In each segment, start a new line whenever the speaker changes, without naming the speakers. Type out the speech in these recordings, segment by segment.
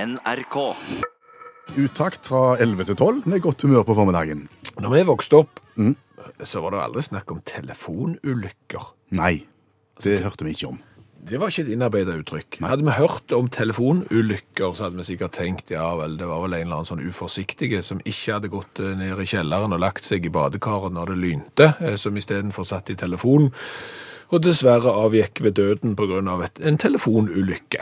NRK.
Utakt fra 11 til 12 med godt humør på formiddagen.
Når vi vokste opp, så var det aldri snakk om telefonulykker.
Nei, det hørte vi ikke om.
Det var ikke et innarbeida uttrykk. Hadde vi hørt om telefonulykker, så hadde vi sikkert tenkt ja vel, det var vel en eller annen sånn uforsiktige som ikke hadde gått eh, ned i kjelleren og lagt seg i badekaret når det lynte, eh, som istedenfor satt i telefonen. Og dessverre avgikk ved døden pga. en telefonulykke.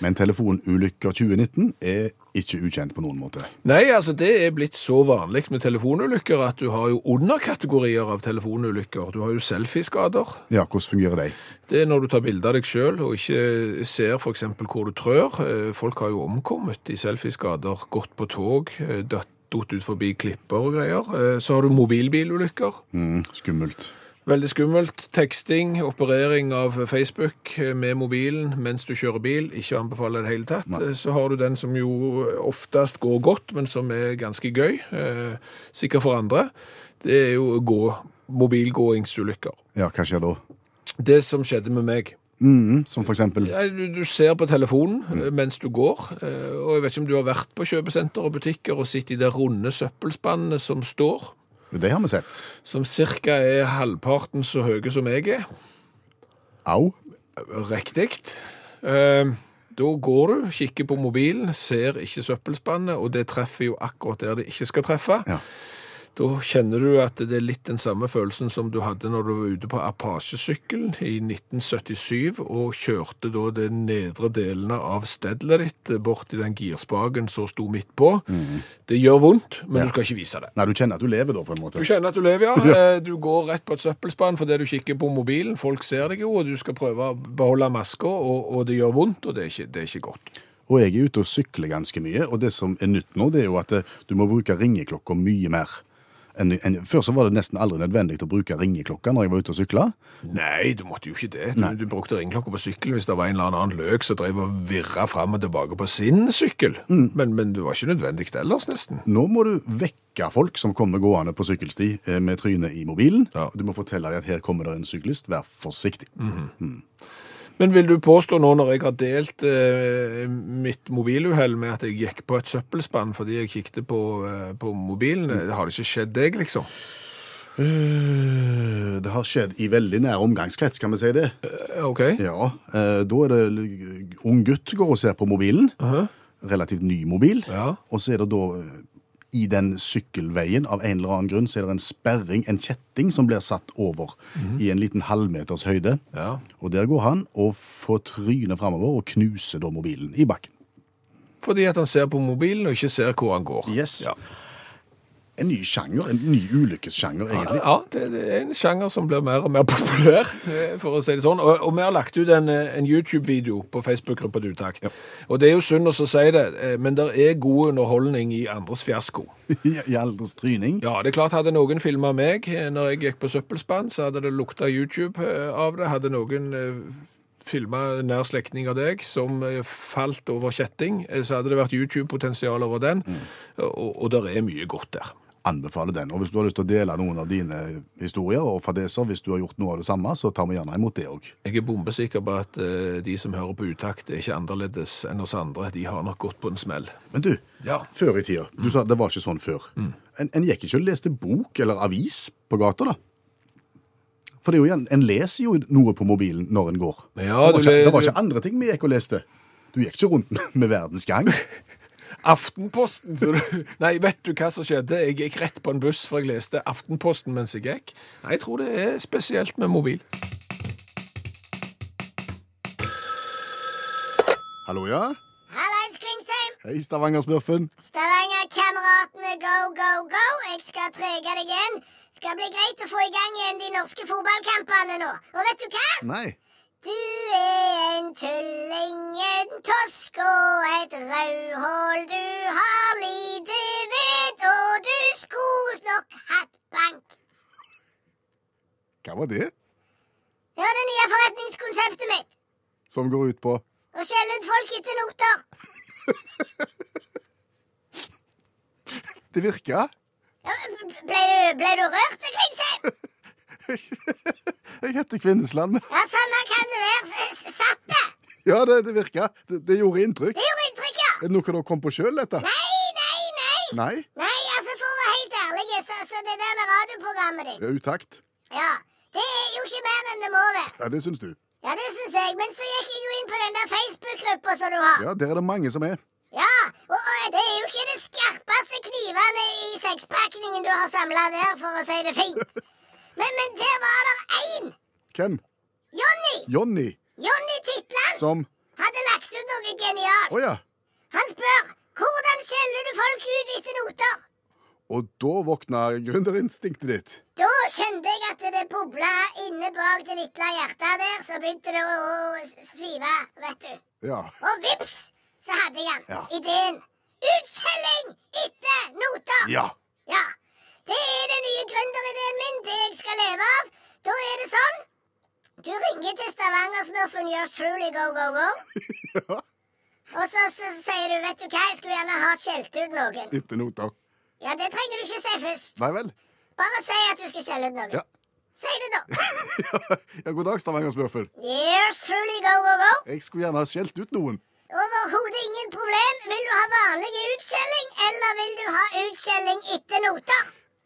Men telefonulykker 2019 er ikke ukjent på noen måte.
Nei, altså det er blitt så vanlig med telefonulykker at du har jo underkategorier av telefonulykker. Du har jo selfieskader.
Ja, hvordan fungerer de?
Det er når du tar bilde av deg sjøl og ikke ser f.eks. hvor du trør. Eh, Folk har jo omkommet i selfieskader, gått på tog, eh, datt datt ut forbi klipper og greier. Eh, Så har du mobilbilulykker.
Mm, skummelt.
Veldig skummelt. Teksting, operering av Facebook eh, med mobilen mens du kjører bil. Ikke anbefaler det hele tatt.
Nei.
Eh, Så har du den som jo oftest går godt, men som er ganske gøy. eh, Sikkert for andre. Det er jo gå, mobilgåingsulykker.
Ja, hva skjer da?
Det som skjedde med meg
Mm, som for eksempel
Nei, Du, du ser på telefonen eh, mens du går, eh, og jeg vet ikke om du har vært på kjøpesenter og butikker og sett de der runde søppelspannene som står,
Det har vi sett.
som cirka er halvparten så høye som jeg er.
Au.
Riktig. Eh, Da går du, kikker på mobilen, ser ikke søppelspannet, og det treffer jo akkurat der det ikke skal treffe.
Ja.
Da kjenner du at det er litt den samme følelsen som du hadde når du var ute på Apache-sykkelen i 1977 og kjørte da de nedre delene av stedlet ditt bort i den girspaken som sto midt på. Det gjør vondt, men du skal ikke vise det.
Nei, du kjenner at du lever da, på en måte.
Du kjenner at du lever, ja. Eh, Du går rett på et søppelspann fordi du kikker på mobilen. Folk ser deg jo, og du skal prøve å beholde maska, og, og det gjør vondt, og det er ikke, det er ikke godt.
Og jeg er ute og sykler ganske mye, og det som er nytt nå, det er jo at eh, du må bruke ringeklokka mye mer. Enn, enn, før så var det nesten aldri nødvendig å bruke ringeklokka når jeg var ute og sykla.
Nei, du måtte jo ikke det. Du, du brukte ringeklokka på sykkelen hvis det var en eller annen løk som drev og virra fram og tilbake på sin sykkel. Men, men det var ikke nødvendig ellers, nesten.
Nå må du vekke folk som kommer gående på sykkelsti eh, med trynet i mobilen.
Ja.
Du må fortelle dem at her kommer det en syklist, vær forsiktig. Mm.
Men vil du påstå nå når jeg har delt eh, mitt mobiluhell med at jeg gikk på et søppelspann fordi jeg kikket på, eh, på mobilen, har det ikke skjedd deg, liksom?
Eh, Det har skjedd i veldig nær omgangskrets, kan vi si det.
Eh, OK.
Ja, eh, Da er det l- ung gutt går og ser på mobilen. Relativt ny mobil.
Ja.
Og så er det da eh, i den sykkelveien av en eller annen grunn så er det en sperring, en kjetting, som blir satt over
Mhm.
i en liten halvmeters høyde.
ja.
Og der går han og får trynet framover og knuser da mobilen i bakken.
Fordi at han ser på mobilen og ikke ser hvor han går.
Yes.
Ja,
En ny sjanger, en ny ulykkessjanger, egentlig.
ja det, det er en sjanger som blir mer og mer populær, eh, for å si det sånn. Og, og vi har lagt ut en, eh, en YouTube-video på Facebook-gruppa til Utakt. Og det er jo synd å så si det, eh, men det er god underholdning i andres fiasko.
I alders tryning.
Ja, det er klart, hadde noen filma meg eh, når jeg gikk på søppelspann, så hadde det lukta YouTube eh, av det. Hadde noen filma nær slektning av deg som eh, falt over kjetting, eh, så hadde det vært YouTube-potensial over den.
Mm.
Og, og der er mye godt der.
Anbefaler den. Og hvis du har lyst til å dele noen av dine historier og fadeser, hvis du har gjort noe av det samme, så tar vi gjerne imot det òg.
Jeg er bombesikker på at eh, de som hører på utakt, er ikke annerledes enn oss andre. De har nok gått på en smell.
Men du,
Ja. Mm.
før i tida Du sa det var ikke sånn før. En, en gikk ikke og leste bok eller avis på gata, da? For det er jo igjen, en leser jo noe på mobilen når en går.
Ja,
det, var
du
ikke,
le-
det var
du-
ikke andre ting vi gikk og leste. Du gikk ikke rundt med, med Verdens Gang.
Aftenposten! Så du... Nei, vet du hva som skjedde? Jeg gikk rett på en buss, for jeg leste Aftenposten mens jeg gikk. Nei, jeg tror det er spesielt med mobil.
Hallo, ja?
Hallais, Klingsheim!
Hei, Stavanger-smurfen.
Stavanger-kameratene, go, go, go! Jeg skal trege deg igjen. Skal bli greit å få i gang igjen de norske fotballkampene nå. Og vet du hva?
Nei.
Du er en tulling, en tosk og et rødhål. Du har lite vett, og du skulle nok hatt bank.
Hva var det
Det var det nye forretningskonseptet mitt.
som går ut på?
Å skjelle ut folk etter noter.
Det virka.
Ja, Ble du, ble du rørt, Klingsheim?
Jeg heter Kvindesland, men
Ja, samme kan det være. S- s- Satt det.
ja, det, det virka. Det, det gjorde inntrykk.
Det gjorde inntrykk, ja.
Er det noe dere kom på sjøl, dette?
Nei, nei, nei!
Nei?
Nei, altså For å være helt ærlig, så, så det der radioprogrammet ditt
Det er utakt?
Ja, det er jo ikke mer enn det må være.
Ja, det syns du.
Ja, det syns jeg. Men så gikk jeg jo inn på den der Facebook-gruppa som du har.
Ja, der er det mange som er.
Ja, og, og det er jo ikke det skarpeste knivene i sekspakningen du har samla der, for å si det fint. Men, men der var det én!
Hvem?
Jonny!
Jonny,
Jonny Titland
som
hadde lagt ut noe
Å
genialt.
ja.
Han spør hvordan skjeller du folk ut etter noter?
Og da våkna gründerinstinktet ditt.
Da kjente jeg at det bobla inne bak det lille hjertet der, så begynte det å, å svive, vet du.
Ja.
Og vips, så hadde jeg den.
Ja.
Ideen. Utskjelling etter noter.
Ja.
Ja. Det er den nye gründerideen min, det jeg skal leve av. Da er det sånn Du ringer til Stavanger-smurfen Yours Truly Go Go Go.
ja.
Og så, så sier du, vet du hva, jeg skulle gjerne ha skjelt ut noen.
Etter noter.
Ja, det trenger du ikke si først.
Nei vel?
Bare si at du skal skjelle ut noen.
Ja.
Si det, da.
ja, god dag, Stavanger-smurfen.
Yours Truly Go Go Go.
Jeg skulle gjerne ha skjelt ut noen.
Overhodet ingen problem. Vil du ha vanlig utskjelling, eller vil du ha utskjelling etter noter?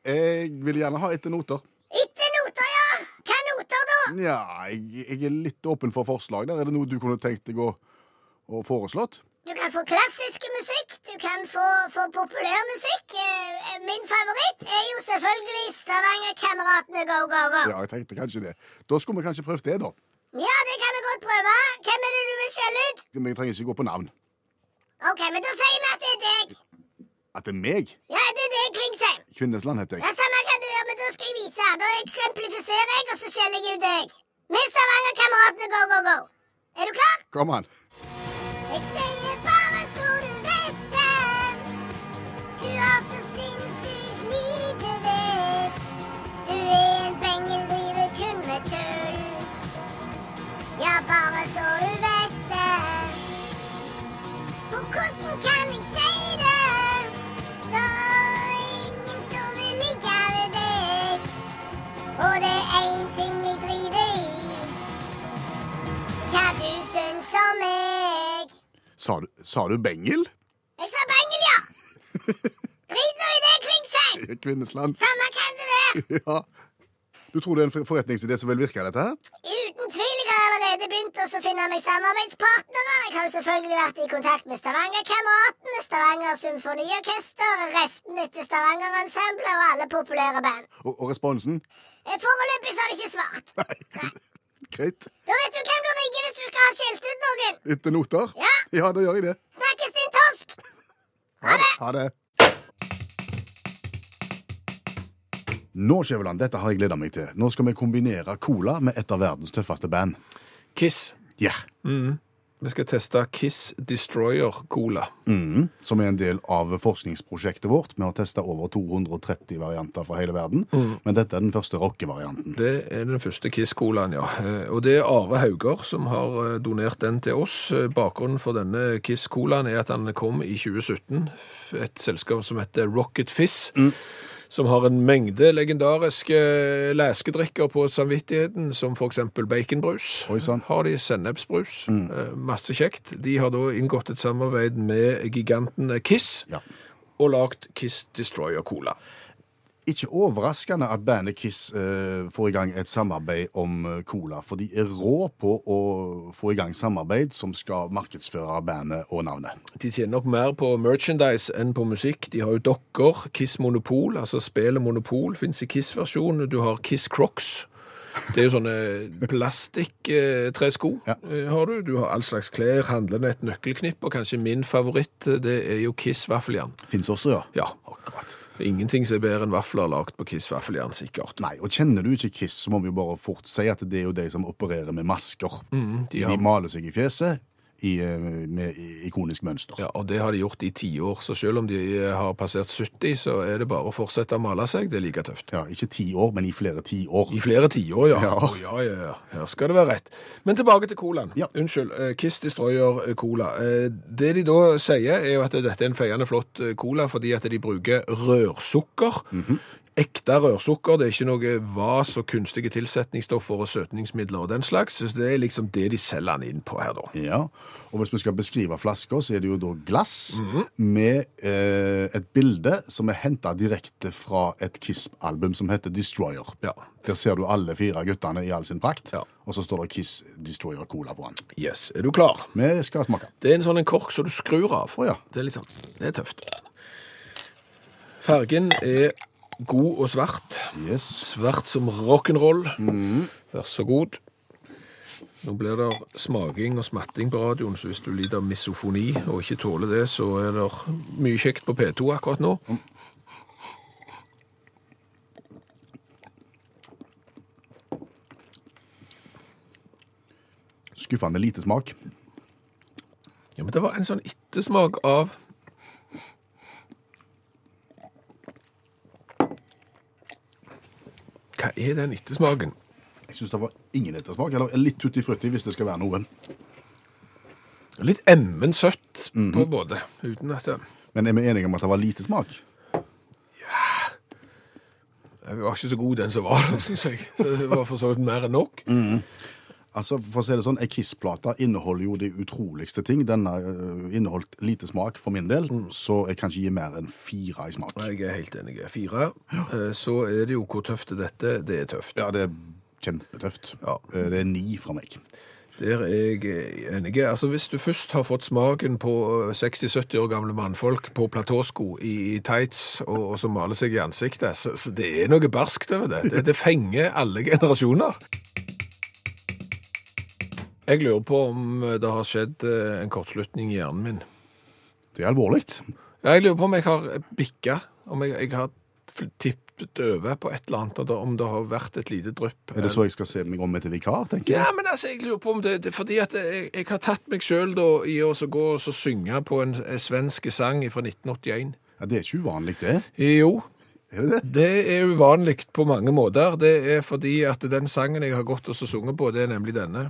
Jeg vil gjerne ha etter noter.
Etter noter, ja. Hva noter da?
Nja, jeg, jeg er litt åpen for forslag der. Er det noe du kunne tenkt deg å, å foreslått?
Du kan få klassisk musikk, du kan få, få populær musikk. Eh, Min favoritt er jo selvfølgelig Stavanger-kameratene Go Go Go.
Ja, jeg tenkte kanskje det. Da skulle vi kanskje prøvd det, da.
ja, det kan vi godt prøve. Hvem er det du vil skjelle ut?
Men jeg trenger ikke gå på navn.
OK, men da sier vi at det er deg.
At det er meg?
Ja, det er deg, Klingsheim.
Kvinnesland heter
Ja,
jeg.
Samme kan det være, men da skal jeg vise. Da eksemplifiserer jeg, og så skjeller jeg ut deg. Med Stavanger-kameratene Go Go Go. Er du klar?
Kom an.
Jeg sier bare så du vet det. Du har så sinnssykt lite vett. Du er en pengeldriver kun med tull. Ja, bare så du vet det. Og hvordan kan jeg si det? Da er ingen som vil ligge ved deg. Og det er én ting jeg driter i. Hva du syns om meg.
Sa du, sa du Bengel?
Jeg sa Bengel, ja. Drit nå i det, Klingsheim.
Kvinnesland.
Samme kan det være.
Ja. Du tror det er en for- forretningsidé som vil virke, dette her?
Uten tvil jeg har allerede begynt å så finne meg samarbeidspartnere. Jeg har jo selvfølgelig vært i kontakt med Stavanger-kameratene, Stavanger Symfoniorkester, resten etter Stavanger-ensemblet og alle populære band.
Og, og responsen?
Eh, Foreløpig så har de ikke svart.
Nei. Greit.
Da vet du hvem du ringer hvis du skal ha skjelt ut noen.
Etter noter?
Ja.
Ja, da gjør jeg det.
Snakkes, din tosk.
Ha det. Ha det. Nå, Skjæveland, dette har jeg gleda meg til. Nå skal vi kombinere cola med et av verdens tøffeste band.
Kiss.
Ja.
Vi skal teste Kiss Destroyer Cola.
Mhm. Som er en del av forskningsprosjektet vårt. Vi har testa over 230 varianter fra hele verden,
Mm.
men dette er den første rockevarianten.
Det er den første Kiss-colaen, ja. Eh, Og det er Are Hauger som har eh, donert den til oss. Eh, Bakgrunnen for denne Kiss-colaen er at den kom i 2017. Et selskap som heter Rocket Fizz.
Mm.
Som har en mengde legendariske eh, leskedrikker på samvittigheten, som f.eks. baconbrus.
Oi Mm. sann.
Har de sennepsbrus. Eh, Masse kjekt. De har da inngått et samarbeid med giganten Kiss,
Ja.
og lagd Kiss Destroyer Cola.
Ikke overraskende at bandet Kiss eh, får i gang et samarbeid om eh, cola, for de er rå på å få i gang samarbeid som skal markedsføre bandet og navnet.
De tjener nok mer på merchandise enn på musikk. De har jo dokker, Kiss Monopol, altså spillet Monopol fins i Kiss-versjon. Du har Kiss Crocs. Det er jo sånne plastikk-tresko eh,
Ja.
har du. Du har all slags klær, handlenett, nøkkelknipp, og kanskje min favoritt, eh, det er jo Kiss vaffeljern.
Fins også, ja.
Ja.
Akkurat.
Ingenting som er bedre enn vafler lagd på Kiss vaffeljern, sikkert.
Nei, og kjenner du ikke Kiss, så må vi jo bare fort si at det er jo de som opererer med masker.
Mm, de
de,
har-
maler seg i fjeset i, eh, med i- ikonisk mønster.
Ja, og det har de gjort i tiår, så selv om de har passert 70, så er det bare å fortsette å male seg. Det er like tøft.
Ja, ikke ti år, men i flere tiår.
I flere tiår, ja.
Ja.
Å, ja, ja, ja. Her skal det være rett. Men tilbake til colaen.
Ja.
Unnskyld. eh, Kiss Destroyer eh, Cola. Eh, Det de da
Mhm.
sier, er jo at dette er en feiende flott eh, cola fordi at de bruker rørsukker ekte rørsukker. Det er ikke noe vas og kunstige tilsetningsstoffer og søtningsmidler og den slags. Så det er liksom det de selger den inn på her, da.
Ja, og hvis vi skal beskrive flasker, så er det jo da glass
Mhm.
med eh, et bilde som er henta direkte fra et Kiss-album som heter Destroyer.
Ja.
Der ser du alle fire guttene i all sin prakt,
Ja.
og så står det Kiss Destroyer Cola på den.
Yes, er du klar?
Vi skal smake.
Det er en sånn en kork som du skrur av.
Å ja.
Det er litt sånn, det er tøft. Fargen er god og svart.
Yes.
Svart som rock'n'roll. Vær så god. Nå blir det smaking og smatting på radioen, så hvis du lider av misofoni og ikke tåler det, så er det mye kjekt på P2 akkurat nå.
Skuffende lite smak.
Ja, men det var en sånn ettersmak av Hva er den ettersmaken?
Jeg syns det var ingen ettersmak. Eller litt tutti frutti hvis det skal være noe.
Litt emmen søtt på en måte, uten at det
Men er vi enige om at det var lite smak?
Jeg var ikke så god den som var der, syns jeg. Så det var for så vidt mer enn nok.
Altså, for å si det sånn, Ei Kiss-plate inneholder jo de utroligste ting. Denne øh, inneholdt lite smak for min del,
Mm.
så jeg kan ikke gi mer enn fire i smak.
Jeg er helt enig. Fire. Eh, Så er det jo hvor tøft er dette. Det er tøft.
Ja, det er kjempetøft.
Ja.
Eh, Det er ni fra meg.
Der er jeg eh, enig. Altså, hvis du først har fått smaken på eh, 60-70 år gamle mannfolk på platåsko i, i tights og, og som maler seg i ansiktet, så, så det er noe barskt over det. det. Det fenger alle generasjoner. Jeg lurer på om det har skjedd eh, en kortslutning i hjernen min.
Det er alvorlig.
Ja, jeg lurer på om jeg har bikka, om jeg, jeg har fl- tippet over på et eller annet, og da- om det har vært et lite drypp.
Er det så jeg skal se meg om etter vikar, tenker jeg?
Ja, men altså, jeg lurer på om det, det er fordi at jeg, jeg har tatt meg sjøl i å så gå og så synge på en, en svensk sang fra 1981.
Ja, det er ikke uvanlig, det.
Jo,
Er det det?
det er uvanlig på mange måter. Det er fordi at den sangen jeg har gått og så sunget på, det er nemlig denne.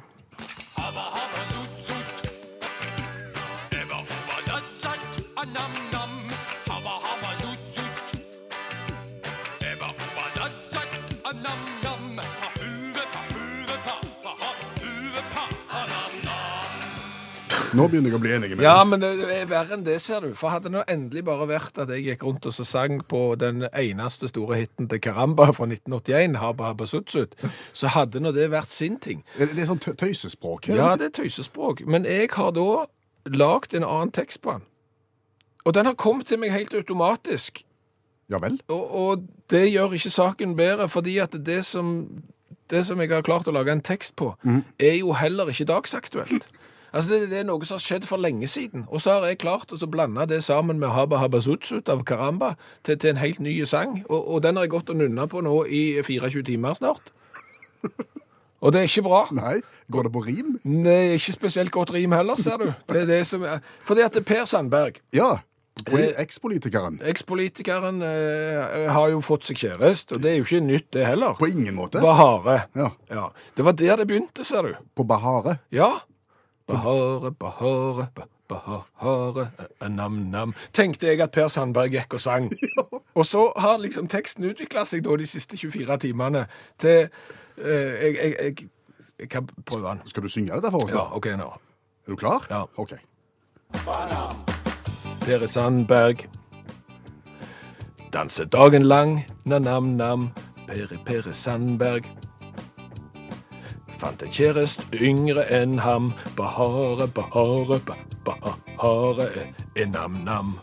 Nå begynner jeg å bli enig med
Ja,
deg.
men det er verre enn det, ser du. For hadde det nå endelig bare vært at jeg gikk rundt og så sang på den eneste store hiten til Karamba fra 1981, Haba Haba Sutsut, så hadde nå det vært sin ting.
Er Det det er sånn tø- tøysespråk her.
Ja, det er tøysespråk. Men jeg har da lagd en annen tekst på den. Og den har kommet til meg helt automatisk.
Ja vel?
Og, og det gjør ikke saken bedre, fordi at det som, det som jeg har klart å lage en tekst på, er jo heller ikke dagsaktuelt. Altså, det, det er noe som har skjedd for lenge siden, og så har jeg klart å så blande det sammen med Haba Haba Sutsut av Karamba til, til en helt ny sang, og, og den har jeg gått og nunna på nå i 24 timer snart. Og det er ikke bra.
Nei? Går det på rim?
Nei, ikke spesielt godt rim heller, ser du. Det er det som er. Fordi at Per Sandberg,
Ja. Poli-
Eh,
Ekspolitikeren.
ekspolitikeren, eh, har jo fått seg kjæreste, og det er jo ikke nytt det heller.
På ingen måte.
Bahare.
Ja.
Ja. Det var der det begynte, ser du.
På Bahare.
Ja. Bahare, Bahare, ba- Bahare, eh, nam-nam. Tenkte jeg at Per Sandberg gikk og sang. Og så har liksom teksten utvikla seg da de siste 24 timene til eh, jeg, jeg, jeg, jeg kan prøve den.
Skal du synge det der for oss,
Ja,
da?
OK, nå.
Er du klar?
Ja.
OK.
Per Sandberg. Danse dagen lang, na-nam-nam, Pere Pere Sandberg. Fant en kjærest yngre enn ham, bahare, bahare, ba- bahare, eh, nam-nam.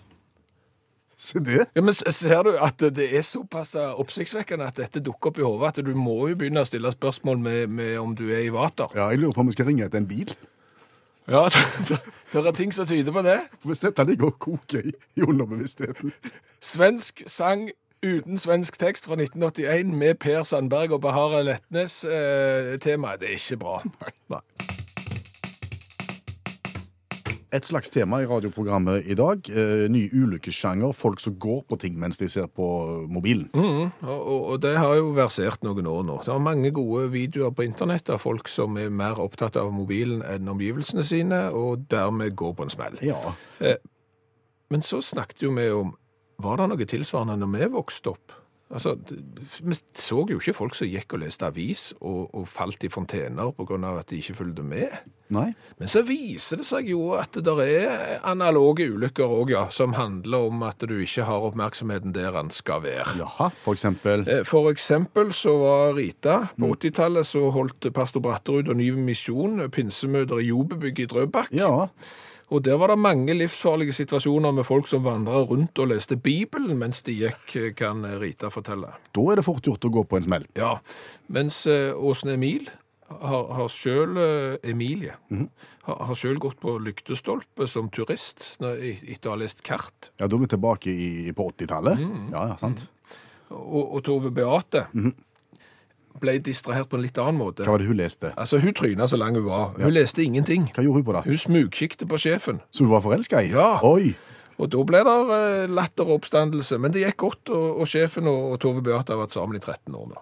Se det.
Ja, men s- ser du at det det er såpass eh, oppsiktsvekkende at dette dukker opp i hodet, at du må jo begynne å stille spørsmål med, med om du er i vater?
Ja, jeg lurer på om vi skal ringe etter en bil.
Ja, det, det er ting som tyder på det.
For Hvis dette ligger og koker i, i underbevisstheten.
Svensk sang uten svensk tekst fra 1981 med Per Sandberg og Bahare Letnes. Eh, temaet det er ikke bra. Nei.
Et slags tema i radioprogrammet i dag. Eh, ny ulykkessjanger. Folk som går på ting mens de ser på mobilen.
Mm, Og, og, og det har jo versert noen år nå. Det er mange gode videoer på internett av folk som er mer opptatt av mobilen enn omgivelsene sine, og dermed går på en smell.
Ja.
Men så snakket jo vi om Var det noe tilsvarende når vi vokste opp? Altså, d- vi så jo ikke folk som gikk og leste avis og, og falt i fontener på grunn av at de ikke fulgte med.
Nei?
Men så viser det seg jo at det der er analoge ulykker òg, ja, som handler om at du ikke har oppmerksomheten der den skal være.
Jaha, for eksempel.
Eh, For eksempel så var Rita På 80-tallet så holdt pastor Bratterud og Ny Misjon pinsemøter i Jobebygget i Drøbak.
Ja.
Og der var det mange livsfarlige situasjoner med folk som vandra rundt og leste Bibelen mens de gikk, eh, kan Rita fortelle.
Da er det fort gjort å gå på en smell.
Ja, mens eh, Åsne Emil har, har selv, eh, Emilie, har, har selv gått på lyktestolpe som turist når, etter å ha lest kart.
Ja, Da er vi tilbake i, på 80-tallet. Ja, ja, sant.
Og, og Tove Beate ble distrahert på en litt annen måte.
Hva var det hun leste?
Altså, hun tryna så lang hun var. Hun leste ingenting.
Hva gjorde hun på da?
Hun smugkikte på sjefen,
Så hun var forelska i?
Ja.
Oi!
og da ble det eh, latter og oppstandelse. Men det gikk godt, og, og sjefen og, og Tove Beate har vært sammen i 13 år nå.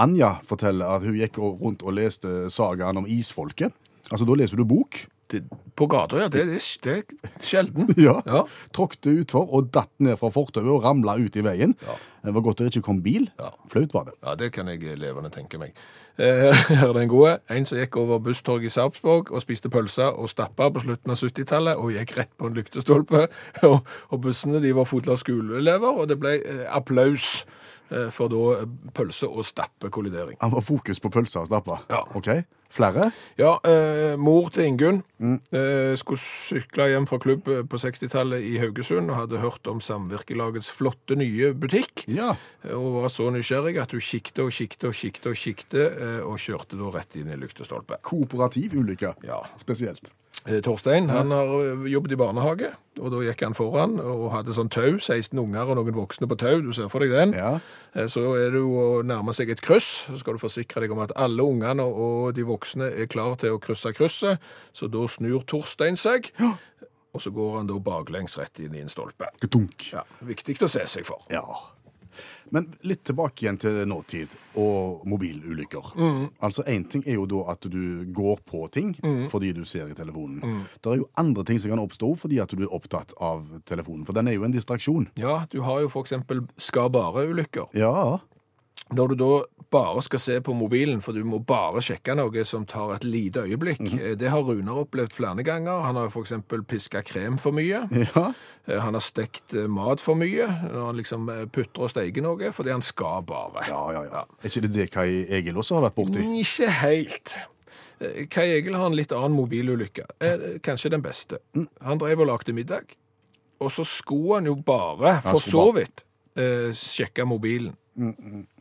Anja forteller at hun gikk og- rundt og leste sagaen om isfolket. Altså, da leser du bok.
Det, på gata, ja. Det, det, det er sjelden.
Ja.
Ja.
Tråkte utfor og datt ned fra fortauet og ramla ut i veien. Det var godt det ikke kom bil.
Ja.
Flaut var det.
Ja, det kan jeg levende tenke meg. Eh, Her er den gode. En som gikk over busstorget i Sarpsborg og spiste pølser og stappa på slutten av 70-tallet og gikk rett på en lyktestolpe. Og, og bussene de var fulle av skoleelever, og det ble eh, applaus eh, for da eh, pølse- og stappekollidering.
Han var fokus på pølser og stapper.
Ja.
Ok, Flere?
Ja, eh, mor til Ingunn eh, skulle sykle hjem fra klubb eh, på 60-tallet i Haugesund og hadde hørt om Samvirkelagets flotte nye butikk.
Ja.
Og var så nysgjerrig at hun kikte og kikte og kikte og kikte, eh, og kjørte da rett inn i lyktestolpe.
Kooperativ ulykke.
Ja.
Spesielt.
Eh, Torstein han har eh, jobbet i barnehage, og da gikk han foran og hadde sånn tau. 16 unger og noen voksne på tau, du ser for deg den.
Ja.
Eh, Så er det jo å nærme seg et kryss. Så skal du forsikre deg om at alle ungene og de voksne er klare til å krysse krysset. Så da snur Torstein seg, og så går han da baklengs rett inn i en stolpe.
Gedunk.
Ja, Viktig å se seg for.
Ja. Men litt tilbake igjen til nåtid og mobilulykker.
Mm.
Altså Én ting er jo da at du går på ting
Mm.
fordi du ser i telefonen. Det er jo andre ting som kan oppstå fordi at du er opptatt av telefonen, for den er jo en distraksjon.
Ja, du har jo for eksempel skal-bare-ulykker.
Ja,
Når du da bare skal se på mobilen, for du må bare sjekke noe som tar et lite øyeblikk.
Mhm.
Eh, Det har Runar opplevd flere ganger. Han har jo for eksempel piska krem for mye.
ja.
Eh, Han har stekt eh, mat for mye, når han liksom eh, putter og steiker noe, fordi han skal bare.
Ja, ja, ja. Er ikke det det Kai Egil også har vært borti?
Ikke helt. Eh, Kai Egil har en litt annen mobilulykke. Eh, Kanskje den beste.
Mm.
Han drev og lagde middag, og så skulle han jo bare, for
skulle
så
bare- Mm,
vidt, eh, sjekke mobilen.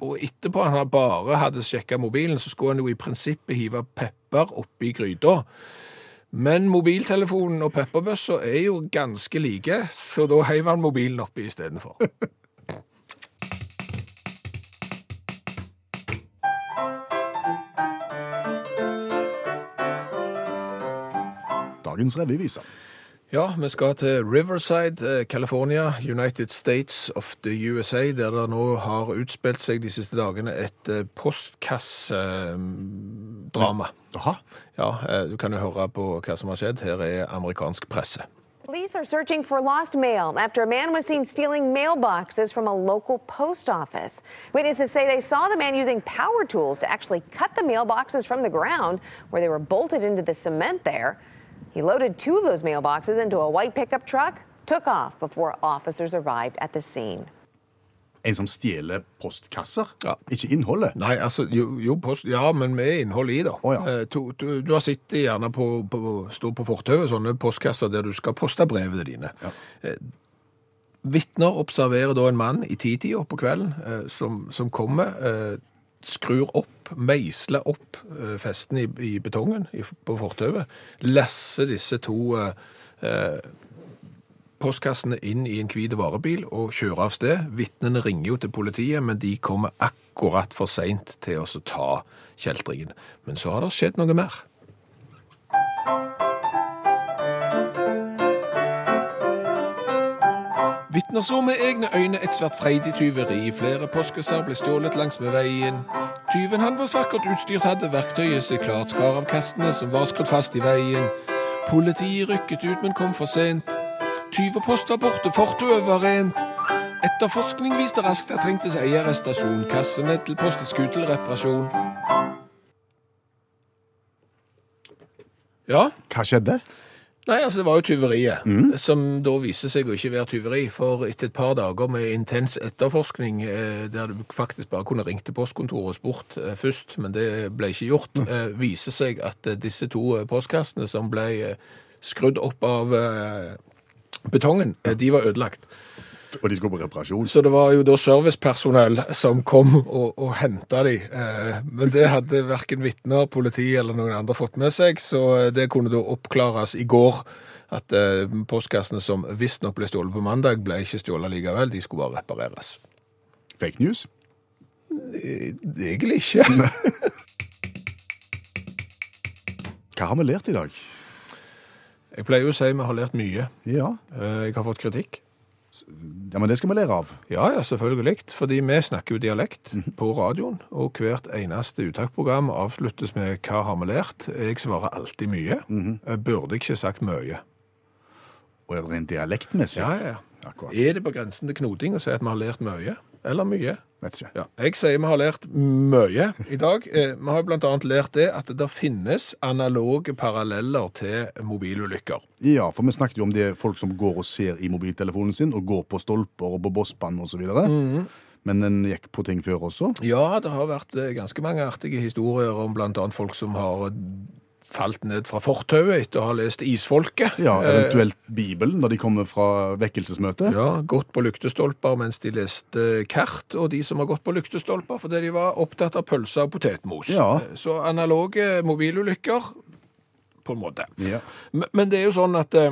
Og etterpå han bare hadde sjekka mobilen, så skulle han jo i prinsippet hive pepper oppi gryta. Men mobiltelefonen og pepperbøssa er jo ganske like, så da heiv han mobilen oppi istedenfor.
Dagens revyvise.
Ja, vi skal til Riverside, eh, California, United States of the USA, der det nå har utspilt seg de siste dagene et eh, postkassedrama.
Jaha.
Ja, eh, du kan jo høre på hva som har skjedd. Her er amerikansk presse.
Police are searching for lost mail after a man was seen stealing mailboxes from a local post office. Witnesses say they saw the man using power tools to actually cut the mailboxes from the ground where they were bolted into the cement there. He loaded two of those mailboxes into a white pickup truck, took off before officers arrived at the scene.
En som stjeler postkasser?
Ja.
Ikke innholdet?
Nei, altså, jo, jo post, ja, men med innhold i, da.
Å, ja.
Eh, to, du, du har sittet gjerne på, på, stå på fortauet, sånne postkasser der du skal poste brevene dine. Ja. Vittner observerer da en mann i titida på kvelden eh, som, som kommer, eh, skrur opp, meisler opp eh, festen i, i betongen i, på fortauet, lesser disse to eh, eh, postkassene inn i en hvit varebil og kjører av sted. Vitnene ringer jo til politiet, men de kommer akkurat for seint til å så ta kjeltringen. Men så har det skjedd noe mer. Vitner så med egne øyne et svært freidig tyveri. Flere postkasser ble stjålet langsmed veien. Tyven han var svært godt utstyrt, hadde verktøyet sitt klart, skar av kastene som var skrudd fast i veien. Politiet rykket ut, men kom for sent. Tyvepost var borte, fortauet var rent. Etterforskning viste raskt at trengtes eierrestasjon, kassene til posttilskudd til reparasjon. Ja,
Hva skjedde?
Nei, altså Det var jo tyveriet, som da viste seg å ikke være tyveri. For etter et par dager med intens etterforskning, eh, der du faktisk bare kunne ringt til postkontoret og spurt eh, først, men det ble ikke gjort, eh, viser seg at eh, disse to eh, postkassene som ble eh, skrudd opp av eh, betongen, eh, de var ødelagt.
Og de skulle på reparasjon.
Så det var jo da servicepersonell som kom og, og henta de. Eh, men det hadde verken vitner, politi eller noen andre fått med seg, så det kunne da oppklares i går. At eh, postkassene som visstnok ble stjålet på mandag, ble ikke stjålet likevel. De skulle bare repareres. Eh,
Fake news.
Egentlig ikke.
Hva har vi lært i dag?
Jeg pleier jo å si vi har lært mye.
Ja,
Eh, jeg har fått kritikk.
ja men det skal vi lære av.
Ja, ja, selvfølgelig. Fordi vi snakker jo dialekt på radioen, og hvert eneste uttaksprogram avsluttes med 'Hva har vi lært?' Jeg svarer alltid mye. Jeg Burde ikke sagt mye.
Og er det rent dialektmessig?
Ja, ja.
Akkurat.
Er det på grensen til knoting å si at vi har lært mye? Eller mye?
Vet ikke.
Ja, Jeg sier vi har lært mye i dag. Eh, Vi har jo bl.a. lært det at det finnes analoge paralleller til mobilulykker.
Ja, for vi snakket jo om det folk som går og ser i mobiltelefonen sin, og går på stolper og på bosspann osv.
Mm.
Men en gikk på ting før også.
Ja, det har vært eh, ganske mange artige historier om bl.a. folk som har eh, falt ned fra fortauet etter å ha lest Isfolket.
Ja,
Eh,
Eventuelt Bibelen når de kommer fra vekkelsesmøtet.
Ja, gått på lyktestolper mens de leste kart, og de som har gått på lyktestolper fordi de var opptatt av pølser og potetmos. Eh,
Ja.
Så analoge mobilulykker, på en måte.
Ja.
Men, men det er jo sånn at eh,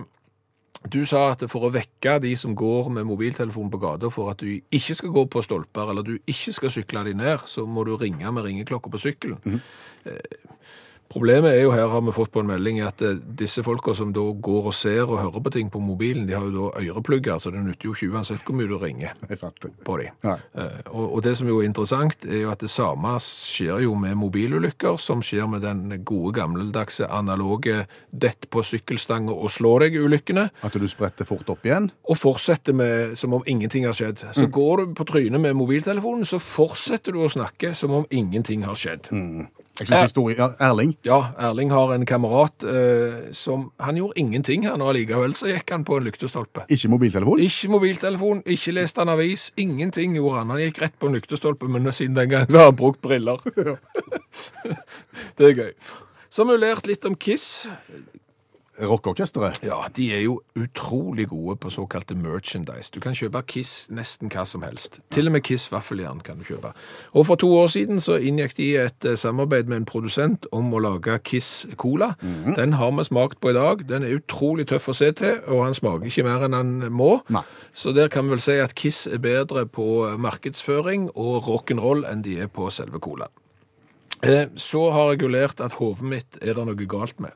du sa at for å vekke de som går med mobiltelefon på gata, for at du ikke skal gå på stolper, eller du ikke skal sykle de ned, så må du ringe med ringeklokka på sykkelen. Eh, Problemet er jo her, har vi fått på en melding, at eh, disse folka som da går og ser og hører på ting på mobilen, de har jo da øreplugger, så det nytter jo ikke uansett hvor mye du ringer
Det er sant.
på dem.
Nei.
Og, og det som jo er interessant, er jo at det samme skjer jo med mobilulykker, som skjer med den gode gammeldagse analoge dett på sykkelstangen og slå deg-ulykkene,
At du spretter fort opp igjen.
og fortsetter med som om ingenting har skjedd. Så går du på trynet med mobiltelefonen, så fortsetter du å snakke som om ingenting har skjedd.
Jeg
Eh.
synes historie, ja, Erling,
Ja, Erling har en kamerat eh, som Han gjorde ingenting, han, og allikevel så gikk han på en lyktestolpe.
ikke mobiltelefon.
Ikke mobiltelefon, ikke leste han avis, ingenting gjorde han. Han gikk rett på en lyktestolpe, men siden den gang så har han brukt briller. det er gøy. Så har vi lært litt om Kiss.
Rockeorkesteret.
Ja, de er jo utrolig gode på såkalte merchandise. Du kan kjøpe Kiss nesten hva som helst. Til og med Kiss vaffeljern kan du kjøpe. Og for to år siden så inngikk de et eh, samarbeid med en produsent om å lage Kiss Cola. Den har vi smakt på i dag. Den er utrolig tøff å se til, og han smaker ikke mer enn han må.
Nei.
Så der kan vi vel si at Kiss er bedre på markedsføring og rock'n'roll enn de er på selve colaen. Eh, Så har jeg jo lært at hodet mitt er det noe galt med.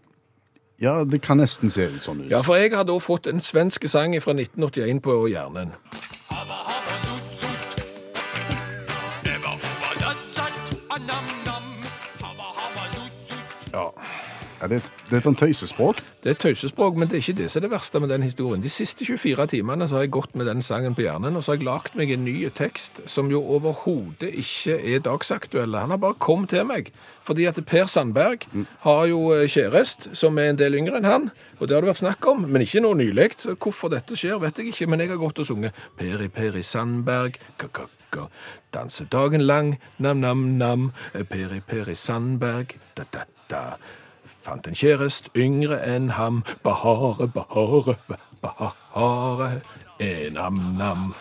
Ja, det kan nesten se ut sånn ut.
Ja, for jeg har da fått en svensk sang fra 1981 på hjernen. Ja,
Ja, det, er et- det er et sånn tøysespråk.
Det er tøysespråk, men det er ikke det som er det verste med den historien. De siste 24 timene så har jeg gått med den sangen på hjernen, og så har jeg lagt meg en ny tekst som jo overhodet ikke er dagsaktuell. Han har bare kommet til meg. Fordi at Per Sandberg har jo eh, kjærest som er en del yngre enn han, og det har det vært snakk om, men ikke noe nylig. Så hvorfor dette skjer, vet jeg ikke, men jeg har gått og sunget Peri Peri Sandberg, ka-ka-ka. Danse dagen lang, nam-nam-nam, Peri Peri Sandberg, da-da-da. Fant en kjærest yngre enn ham. Bahare, bahare, bahare, enam-nam.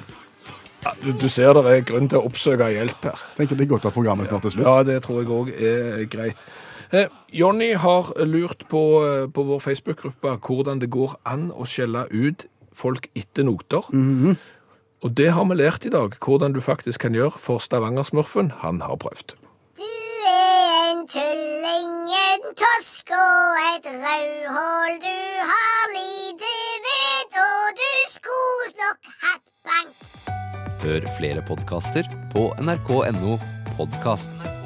Ja, du, du ser det er grunn til å oppsøke hjelp her.
Tenker det er godt at programmet snart er slutt.
Ja, det tror jeg òg er greit. Eh, Jonny har lurt på, eh, på vår Facebook-gruppe hvordan det går an å skjelle ut folk etter noter. Og det har vi lært i dag, hvordan du faktisk kan gjøre for Stavangersmurfen. Han har prøvd.
Du er en tulling, en tosk og et rødhål. Du har lite vett, og du skulle nok hatt bank.
Hør flere podkaster på nrk.no podkast.